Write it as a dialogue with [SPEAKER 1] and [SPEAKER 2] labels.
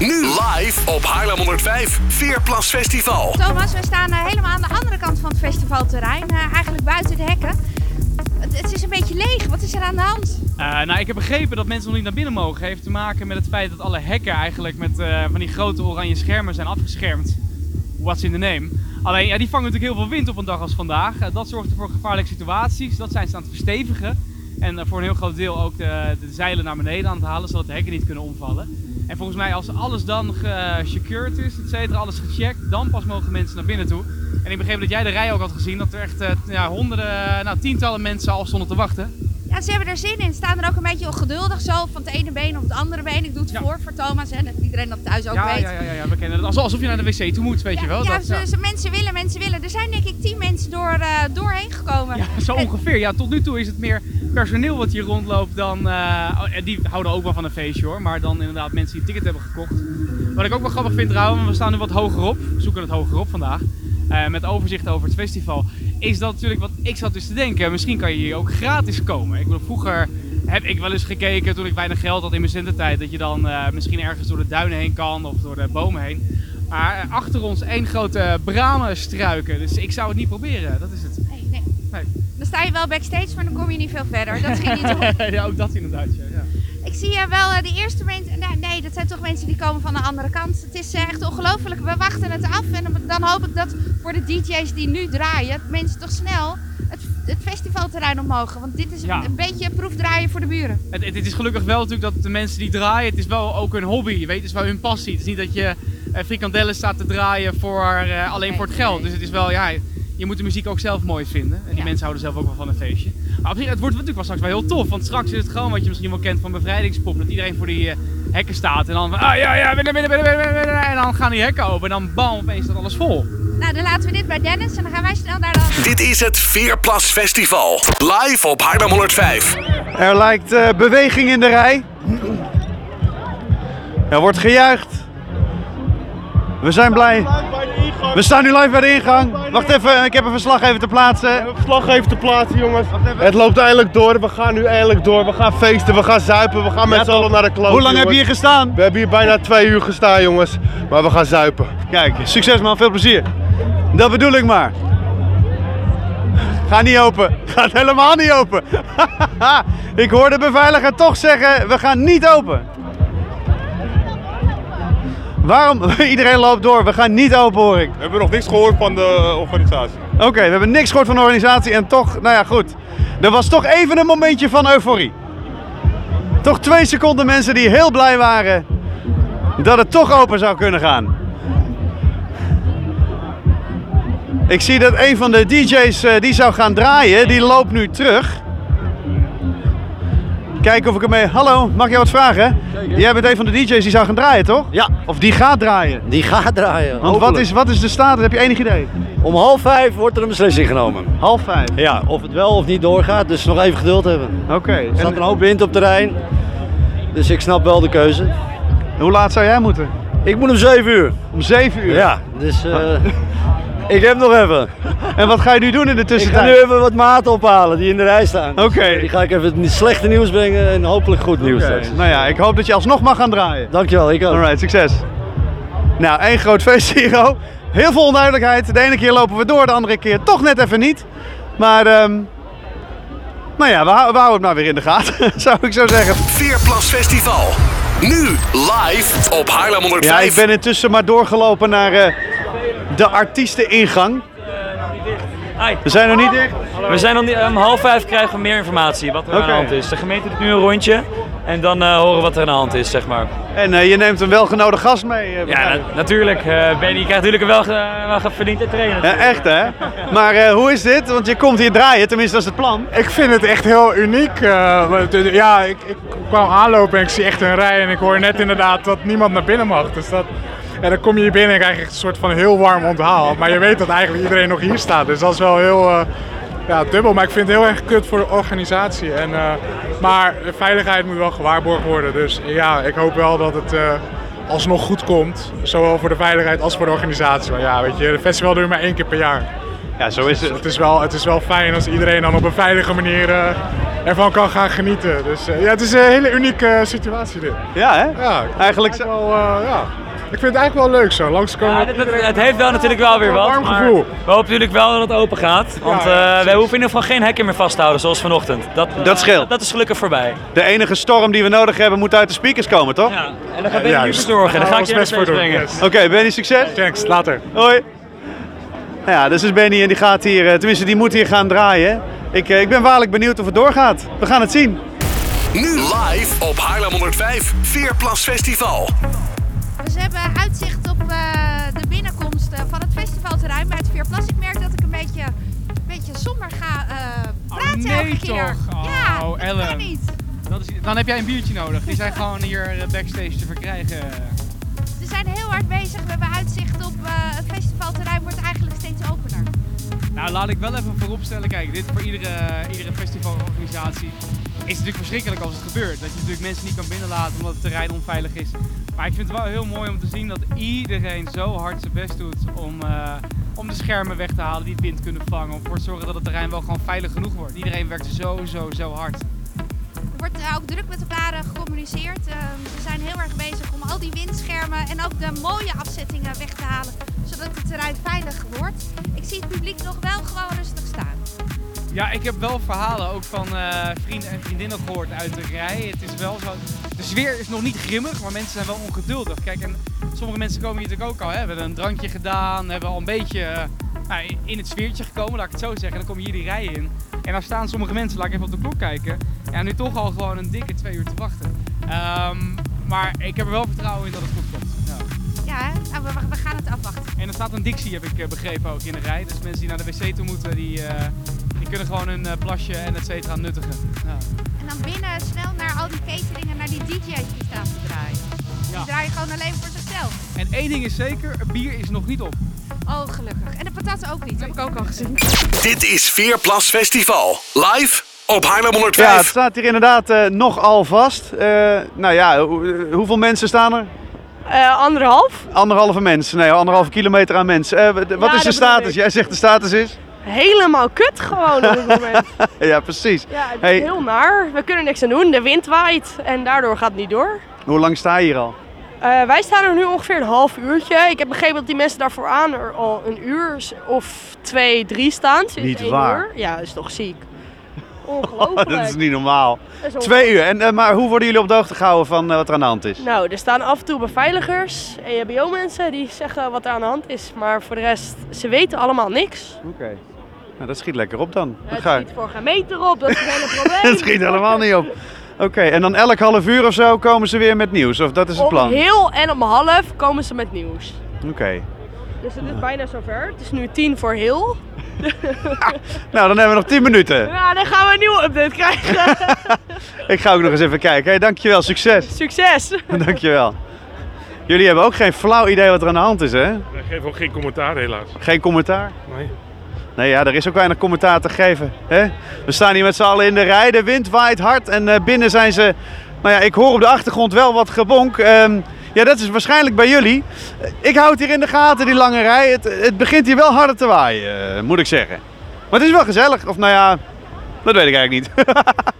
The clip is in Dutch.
[SPEAKER 1] Nu live op Haarlem 105, Veerplas Festival.
[SPEAKER 2] Thomas, we staan eh, helemaal aan de andere kant van het festivalterrein. eh, eigenlijk buiten de hekken. Het, het is een beetje leeg. Wat is er aan de hand?
[SPEAKER 3] Eh, nou, ik heb begrepen dat mensen nog niet naar binnen mogen. Heeft te maken met het feit dat alle hekken eigenlijk met eh, van die grote oranje schermen zijn afgeschermd. What's in the name? Alleen, ja, die vangen natuurlijk heel veel wind op een dag als vandaag. Eh, dat zorgt voor gevaarlijke situaties. Dat zijn ze aan het verstevigen. En eh, voor een heel groot deel ook de, de zeilen naar beneden aan het halen, zodat de hekken niet kunnen omvallen. En volgens mij, als alles dan gesecured is, et cetera, alles gecheckt, dan pas mogen mensen naar binnen toe. En ik begreep dat jij de rij ook had gezien, dat er echt eh, ja, honderden, nou, tientallen mensen al stonden te wachten.
[SPEAKER 2] Ja, ze hebben er zin in. Ze staan er ook een beetje ongeduldig zo. Van het ene been op het andere been. Ik doe het
[SPEAKER 3] Ja.
[SPEAKER 2] voor voor Thomas. En dat iedereen dat thuis ook
[SPEAKER 3] ja,
[SPEAKER 2] weet.
[SPEAKER 3] Ja, ja, ja, ja, we kennen het. Alsof, alsof je naar de wc toe moet, weet je wel.
[SPEAKER 2] ja,
[SPEAKER 3] dat,
[SPEAKER 2] ze-
[SPEAKER 3] ja.
[SPEAKER 2] ze- mensen willen, mensen willen. Er zijn denk ik tien mensen door, eh, doorheen gekomen.
[SPEAKER 3] Ja, zo ongeveer. Ja, tot nu toe is het meer personeel wat hier rondloopt dan... eh, oh, en die houden ook wel van een feestje hoor, maar dan inderdaad mensen die een ticket hebben gekocht. Wat ik ook wel grappig vind trouwens, want we staan nu wat hogerop. We zoeken het hogerop vandaag. eh, met overzicht over het festival. Is dat natuurlijk wat ik zat dus te denken. Misschien kan je hier ook gratis komen. Ik bedoel, vroeger heb ik wel eens gekeken toen ik weinig geld had in mijn studententijd. Dat je dan eh, misschien ergens door de duinen heen kan of door de bomen heen. Maar eh, achter ons één grote bramenstruiken. Dus ik zou het niet proberen. Dat is het.
[SPEAKER 2] Nee, nee.
[SPEAKER 3] Nee.
[SPEAKER 2] Dan sta je wel backstage, maar dan kom je niet veel verder. Dat ging niet op.
[SPEAKER 3] ja, ook dat inderdaad. Ja. Ja.
[SPEAKER 2] Ik zie eh, wel eh, de eerste mensen. Nee, nee, dat zijn toch mensen die komen van de andere kant. Het is eh, echt ongelooflijk. We wachten het af. En dan hoop ik dat voor de DJ's die nu draaien, mensen toch snel het, het festivalterrein op mogen. Want dit is
[SPEAKER 3] Ja.
[SPEAKER 2] een, een beetje proefdraaien voor de buren.
[SPEAKER 3] Het, het, het is gelukkig wel natuurlijk dat de mensen die draaien, het is wel ook hun hobby. Je weet, het is wel hun passie. Het is niet dat je eh, frikandellen staat te draaien voor, eh, alleen
[SPEAKER 2] Nee,
[SPEAKER 3] voor het geld.
[SPEAKER 2] nee.
[SPEAKER 3] Dus het is wel, ja, je moet de muziek ook zelf mooi vinden. En die
[SPEAKER 2] Ja.
[SPEAKER 3] mensen houden zelf ook wel van een feestje. Maar op zich, het wordt natuurlijk wel straks wel heel tof. Want straks is het gewoon wat je misschien wel kent van bevrijdingspop. Dat iedereen voor die eh, hekken staat. En dan, van, ah ja, ja, binnen, binnen, binnen, binnen, binnen. En dan gaan die hekken open. En dan bam, opeens staat alles vol.
[SPEAKER 2] Nou, dan laten we dit bij Dennis en dan gaan wij snel naar de andere.
[SPEAKER 1] Dit is het Veerplas Festival. Live op Haarlem 105.
[SPEAKER 4] Er lijkt eh, beweging in de rij. Er wordt gejuicht. We zijn blij.
[SPEAKER 5] Bij de ingang.
[SPEAKER 4] We staan nu live bij de ingang. Wacht even, ik heb een verslag even te plaatsen.
[SPEAKER 5] Een verslag even te plaatsen, jongens. Het loopt eindelijk door. We gaan nu eindelijk door. We gaan feesten, we gaan zuipen, we gaan met z'n allen naar de kloot.
[SPEAKER 4] Hoe lang heb je
[SPEAKER 5] jongens.
[SPEAKER 4] hier gestaan?
[SPEAKER 5] We hebben hier bijna twee uur gestaan, jongens. Maar we gaan zuipen.
[SPEAKER 4] Kijk, succes man, veel plezier. Dat bedoel ik maar. Ga niet open. Gaat helemaal niet open. ik hoor de beveiliger toch zeggen, we gaan niet open. Waarom? Iedereen loopt door, we gaan niet open hoor ik.
[SPEAKER 6] We hebben nog niks gehoord van de organisatie.
[SPEAKER 4] Oké, we hebben niks gehoord van de organisatie en toch, nou ja, goed. Er was toch even een momentje van euforie. Toch twee seconden mensen die heel blij waren dat het toch open zou kunnen gaan. Ik zie dat een van de DJ's eh, die zou gaan draaien, die loopt nu terug. Kijken of ik ermee. Hallo, mag ik jou wat vragen? Jij bent een van de DJ's die zou gaan draaien, toch?
[SPEAKER 7] Ja.
[SPEAKER 4] Of die gaat draaien.
[SPEAKER 7] Die gaat draaien.
[SPEAKER 4] Want wat is, wat is de status? Heb je enig idee?
[SPEAKER 7] Om half vijf wordt er een beslissing genomen.
[SPEAKER 4] Half vijf.
[SPEAKER 7] Ja, of het wel of niet doorgaat, dus nog even geduld hebben.
[SPEAKER 4] Oké.
[SPEAKER 7] Er staat een hoop wind op terrein, dus ik snap wel de keuze.
[SPEAKER 4] Hoe laat zou jij moeten?
[SPEAKER 7] Ik moet om zeven uur.
[SPEAKER 4] Om 7 uur.
[SPEAKER 7] Ja, dus eh, ik heb nog even.
[SPEAKER 4] En wat ga je nu doen in de
[SPEAKER 7] Ik ga
[SPEAKER 4] tussentijd?
[SPEAKER 7] nu even wat maten ophalen die in de rij staan. Dus,
[SPEAKER 4] Oké.
[SPEAKER 7] eh, Die ga ik even het slechte nieuws brengen en hopelijk goed nieuws
[SPEAKER 4] Oké.
[SPEAKER 7] straks.
[SPEAKER 4] Nou ja, ik hoop dat je alsnog mag gaan draaien.
[SPEAKER 7] Dankjewel, ik ook.
[SPEAKER 4] Alright, succes. Nou, één groot feest hier. Heel veel onduidelijkheid. De ene keer lopen we door, de andere keer toch net even niet. Maar, ehm nou ja, we, hou- we houden het maar weer in de gaten, zou ik zo zeggen.
[SPEAKER 1] Veerplas Festival. Nu live op Haarlem 105.
[SPEAKER 4] Ja, ik ben intussen maar doorgelopen naar eh, de artiesteningang.
[SPEAKER 8] Hi.
[SPEAKER 4] We zijn nog niet dicht.
[SPEAKER 8] We zijn om, die- om half vijf krijgen we meer informatie wat er aan
[SPEAKER 4] Oké.
[SPEAKER 8] de hand is. De gemeente doet nu een rondje en dan eh, horen we wat er aan de hand is, zeg maar.
[SPEAKER 4] En eh, je neemt een welgenode gast mee. eh,
[SPEAKER 8] Ja,
[SPEAKER 4] begrijp ik.
[SPEAKER 8] na- natuurlijk. eh Benny krijgt natuurlijk wel, ge- eh, wel geverdiend te trainen.
[SPEAKER 4] Ja, Eh, echt hè? Maar eh, hoe is dit? Want je komt hier draaien, tenminste dat is het plan.
[SPEAKER 9] Ik vind het echt heel uniek. eh, want, eh, ja, ik, ik kwam aanlopen en ik zie echt een rij en ik hoor net inderdaad dat niemand naar binnen mag. Dus dat, en dan kom je hier binnen en krijg je echt een soort van heel warm onthaal. Maar je weet dat eigenlijk iedereen nog hier staat. Dus dat is wel heel eh, ja, dubbel. Maar ik vind het heel erg kut voor de organisatie. En, eh, maar de veiligheid moet wel gewaarborgd worden. Dus ja, ik hoop wel dat het... eh, alsnog goed komt, zowel voor de veiligheid als voor de organisatie. Maar ja, weet je, het festival doe je maar één keer per jaar.
[SPEAKER 4] Ja, zo is
[SPEAKER 9] Dus het is wel, het is wel fijn als iedereen dan op een veilige manier eh, ervan kan gaan genieten. Dus eh, ja, het is een hele unieke eh, situatie dit.
[SPEAKER 4] Ja, hè?
[SPEAKER 9] Ja, ik
[SPEAKER 4] Eigenlijk
[SPEAKER 9] vind het wel, eh, ja. Ik vind het eigenlijk wel leuk zo, langskomen.
[SPEAKER 8] Ja,
[SPEAKER 9] komen.
[SPEAKER 8] Eh, het, het- het heeft wel natuurlijk wel weer wat.
[SPEAKER 9] Warm
[SPEAKER 8] maar
[SPEAKER 9] gevoel.
[SPEAKER 8] we hopen natuurlijk wel dat het open gaat. Want
[SPEAKER 9] Ja, ja,
[SPEAKER 8] eh, we
[SPEAKER 9] precies.
[SPEAKER 8] hoeven in ieder geval geen hekken meer vast te houden zoals vanochtend. Dat, eh,
[SPEAKER 4] Dat scheelt.
[SPEAKER 8] Dat is gelukkig voorbij.
[SPEAKER 4] De enige storm die we nodig hebben moet uit de speakers komen, toch?
[SPEAKER 8] Ja, en dan gaat Benny nu
[SPEAKER 9] juist.
[SPEAKER 8] verzorgen. Dan ga ik
[SPEAKER 9] Alles
[SPEAKER 8] je
[SPEAKER 9] best
[SPEAKER 8] best
[SPEAKER 9] voor doen.
[SPEAKER 8] brengen.
[SPEAKER 9] Yes.
[SPEAKER 4] Oké, Benny, succes.
[SPEAKER 9] Thanks, later.
[SPEAKER 4] Hoi. Nou ja, dus is Benny en die gaat hier, eh, tenminste die moet hier gaan draaien. Ik, eh, ik ben waarlijk benieuwd of het doorgaat. We gaan het zien.
[SPEAKER 1] Nu live op Haarlem 105 Veerplas Festival.
[SPEAKER 2] Dus we hebben uitzicht op eh, de binnenkomst eh, van het festivalterrein bij het Veerplas. Ik merk dat ik een beetje, een beetje somber ga eh praten
[SPEAKER 3] nee
[SPEAKER 2] elke keer.
[SPEAKER 3] toch?
[SPEAKER 2] ja,
[SPEAKER 3] Oh,
[SPEAKER 2] dat
[SPEAKER 3] Ellen.
[SPEAKER 2] kan niet.
[SPEAKER 3] Dat is, dan heb jij een biertje nodig. Die zijn gewoon hier eh, backstage te verkrijgen.
[SPEAKER 2] Ze zijn heel hard bezig. We hebben uitzicht op eh, het festivalterrein. Wordt eigenlijk steeds opener.
[SPEAKER 3] Nou, laat ik wel even vooropstellen. Kijk, dit voor iedere, iedere festivalorganisatie is het natuurlijk verschrikkelijk als het gebeurt. Dat je natuurlijk mensen niet kan binnenlaten omdat het terrein onveilig is. Maar ik vind het wel heel mooi om te zien dat iedereen zo hard zijn best doet om, eh, om de schermen weg te halen die wind kunnen vangen. Om ervoor te zorgen dat het terrein wel gewoon veilig genoeg wordt. Iedereen werkt zo, zo, zo hard.
[SPEAKER 2] Er wordt eh, ook druk met elkaar eh, gecommuniceerd. Eh, ze zijn heel erg bezig om al die windschermen en ook de mooie afzettingen weg te halen. Zodat het terrein veilig wordt. Ik zie het publiek nog wel gewoon rustig staan.
[SPEAKER 3] Ja, ik heb wel verhalen ook van eh, vrienden en vriendinnen gehoord uit de rij. Het is wel zo. De sfeer is nog niet grimmig, maar mensen zijn wel ongeduldig. Kijk, en sommige mensen komen hier natuurlijk ook al. Hè, hebben een drankje gedaan, hebben al een beetje eh, nou, in het sfeertje gekomen, laat ik het zo zeggen. En dan kom je hier die rij in. En daar staan sommige mensen, laat ik even op de klok kijken. Ja, nu toch al gewoon een dikke twee uur te wachten. Ehm, maar ik heb er wel vertrouwen in dat het goed komt. Ja.
[SPEAKER 2] Ja, hè? nou, we, we gaan het afwachten.
[SPEAKER 3] En er staat een dictie, heb ik eh, begrepen, ook in de rij. Dus mensen die naar de wc toe moeten, die, eh, die kunnen gewoon hun eh, plasje en et cetera nuttigen. Nou. Ja.
[SPEAKER 2] En dan binnen snel naar al die cateringen, naar die DJ's die staan te draaien.
[SPEAKER 3] Ja.
[SPEAKER 2] Die draaien gewoon alleen voor zichzelf.
[SPEAKER 3] En één ding is zeker, het bier is nog niet op.
[SPEAKER 2] Oh, gelukkig. En de patatten ook niet, heb ik ook al gezien.
[SPEAKER 1] Dit is Veerplas Festival. Live op Haarlem
[SPEAKER 4] Ja, het
[SPEAKER 1] 105.
[SPEAKER 4] staat hier inderdaad eh, nogal vast. Eh, nou ja, hoe- hoeveel mensen staan er?
[SPEAKER 10] Eh, anderhalf.
[SPEAKER 4] Anderhalve mensen, nee, anderhalve kilometer aan mensen. Eh, wat
[SPEAKER 10] dat
[SPEAKER 4] is de
[SPEAKER 10] bedoel
[SPEAKER 4] status?
[SPEAKER 10] ik.
[SPEAKER 4] Jij zegt de status is?
[SPEAKER 10] Helemaal kut gewoon op dit moment.
[SPEAKER 4] ja, precies.
[SPEAKER 10] Ja, het is
[SPEAKER 4] Hey.
[SPEAKER 10] heel naar. We kunnen niks aan doen. De wind waait en daardoor gaat het niet door.
[SPEAKER 4] Hoe lang sta je hier al?
[SPEAKER 10] Eh, wij staan er nu ongeveer een half uurtje. Ik heb begrepen dat die mensen daarvoor aan er al een uur of twee, drie staan. Sinds
[SPEAKER 4] Niet
[SPEAKER 10] één
[SPEAKER 4] waar.
[SPEAKER 10] uur. Ja, dat is toch ziek.
[SPEAKER 4] Oh,
[SPEAKER 10] Ongelooflijk.
[SPEAKER 4] dat is niet normaal.
[SPEAKER 10] Dat is on-
[SPEAKER 4] Twee uur. En, eh, maar hoe worden jullie op de hoogte gehouden van eh, wat er aan de hand is?
[SPEAKER 10] Nou, er staan af en toe beveiligers, E EHBO-mensen die zeggen wat er aan de hand is. Maar voor de rest, ze weten allemaal niks.
[SPEAKER 4] Oké. Nou, dat schiet lekker op dan. Dat
[SPEAKER 10] Het
[SPEAKER 4] ga ik.
[SPEAKER 10] schiet voor geen meter op, dat is het hele probleem.
[SPEAKER 4] Het schiet helemaal niet op. Oké, en dan elk half uur of zo komen ze weer met nieuws, of dat is het
[SPEAKER 10] Om
[SPEAKER 4] plan? Oké.
[SPEAKER 10] heel en om half komen ze met nieuws. Dus het is bijna zover. Het is nu tien voor heel.
[SPEAKER 4] Nou, dan hebben we nog 10 minuten.
[SPEAKER 10] Ja, dan gaan we een nieuwe update krijgen.
[SPEAKER 4] Ik ga ook nog eens even kijken. Hey, dankjewel, succes.
[SPEAKER 10] Succes!
[SPEAKER 4] dankjewel. Jullie hebben ook geen flauw idee wat er aan de hand is, hè?
[SPEAKER 5] Ik geef ook geen commentaar helaas.
[SPEAKER 4] Geen commentaar?
[SPEAKER 5] Nee.
[SPEAKER 4] Nee, ja, er is ook weinig commentaar te geven. Hè? We staan hier met z'n allen in de rij, de wind waait hard en eh, binnen zijn ze... Nou ja, ik hoor op de achtergrond wel wat gebonk. Ehm, ja, dat is waarschijnlijk bij jullie. Eh, Ik houd hier in de gaten, die lange rij. Het, het begint hier wel harder te waaien, eh, moet ik zeggen. Maar het is wel gezellig. Of nou ja, dat weet ik eigenlijk niet.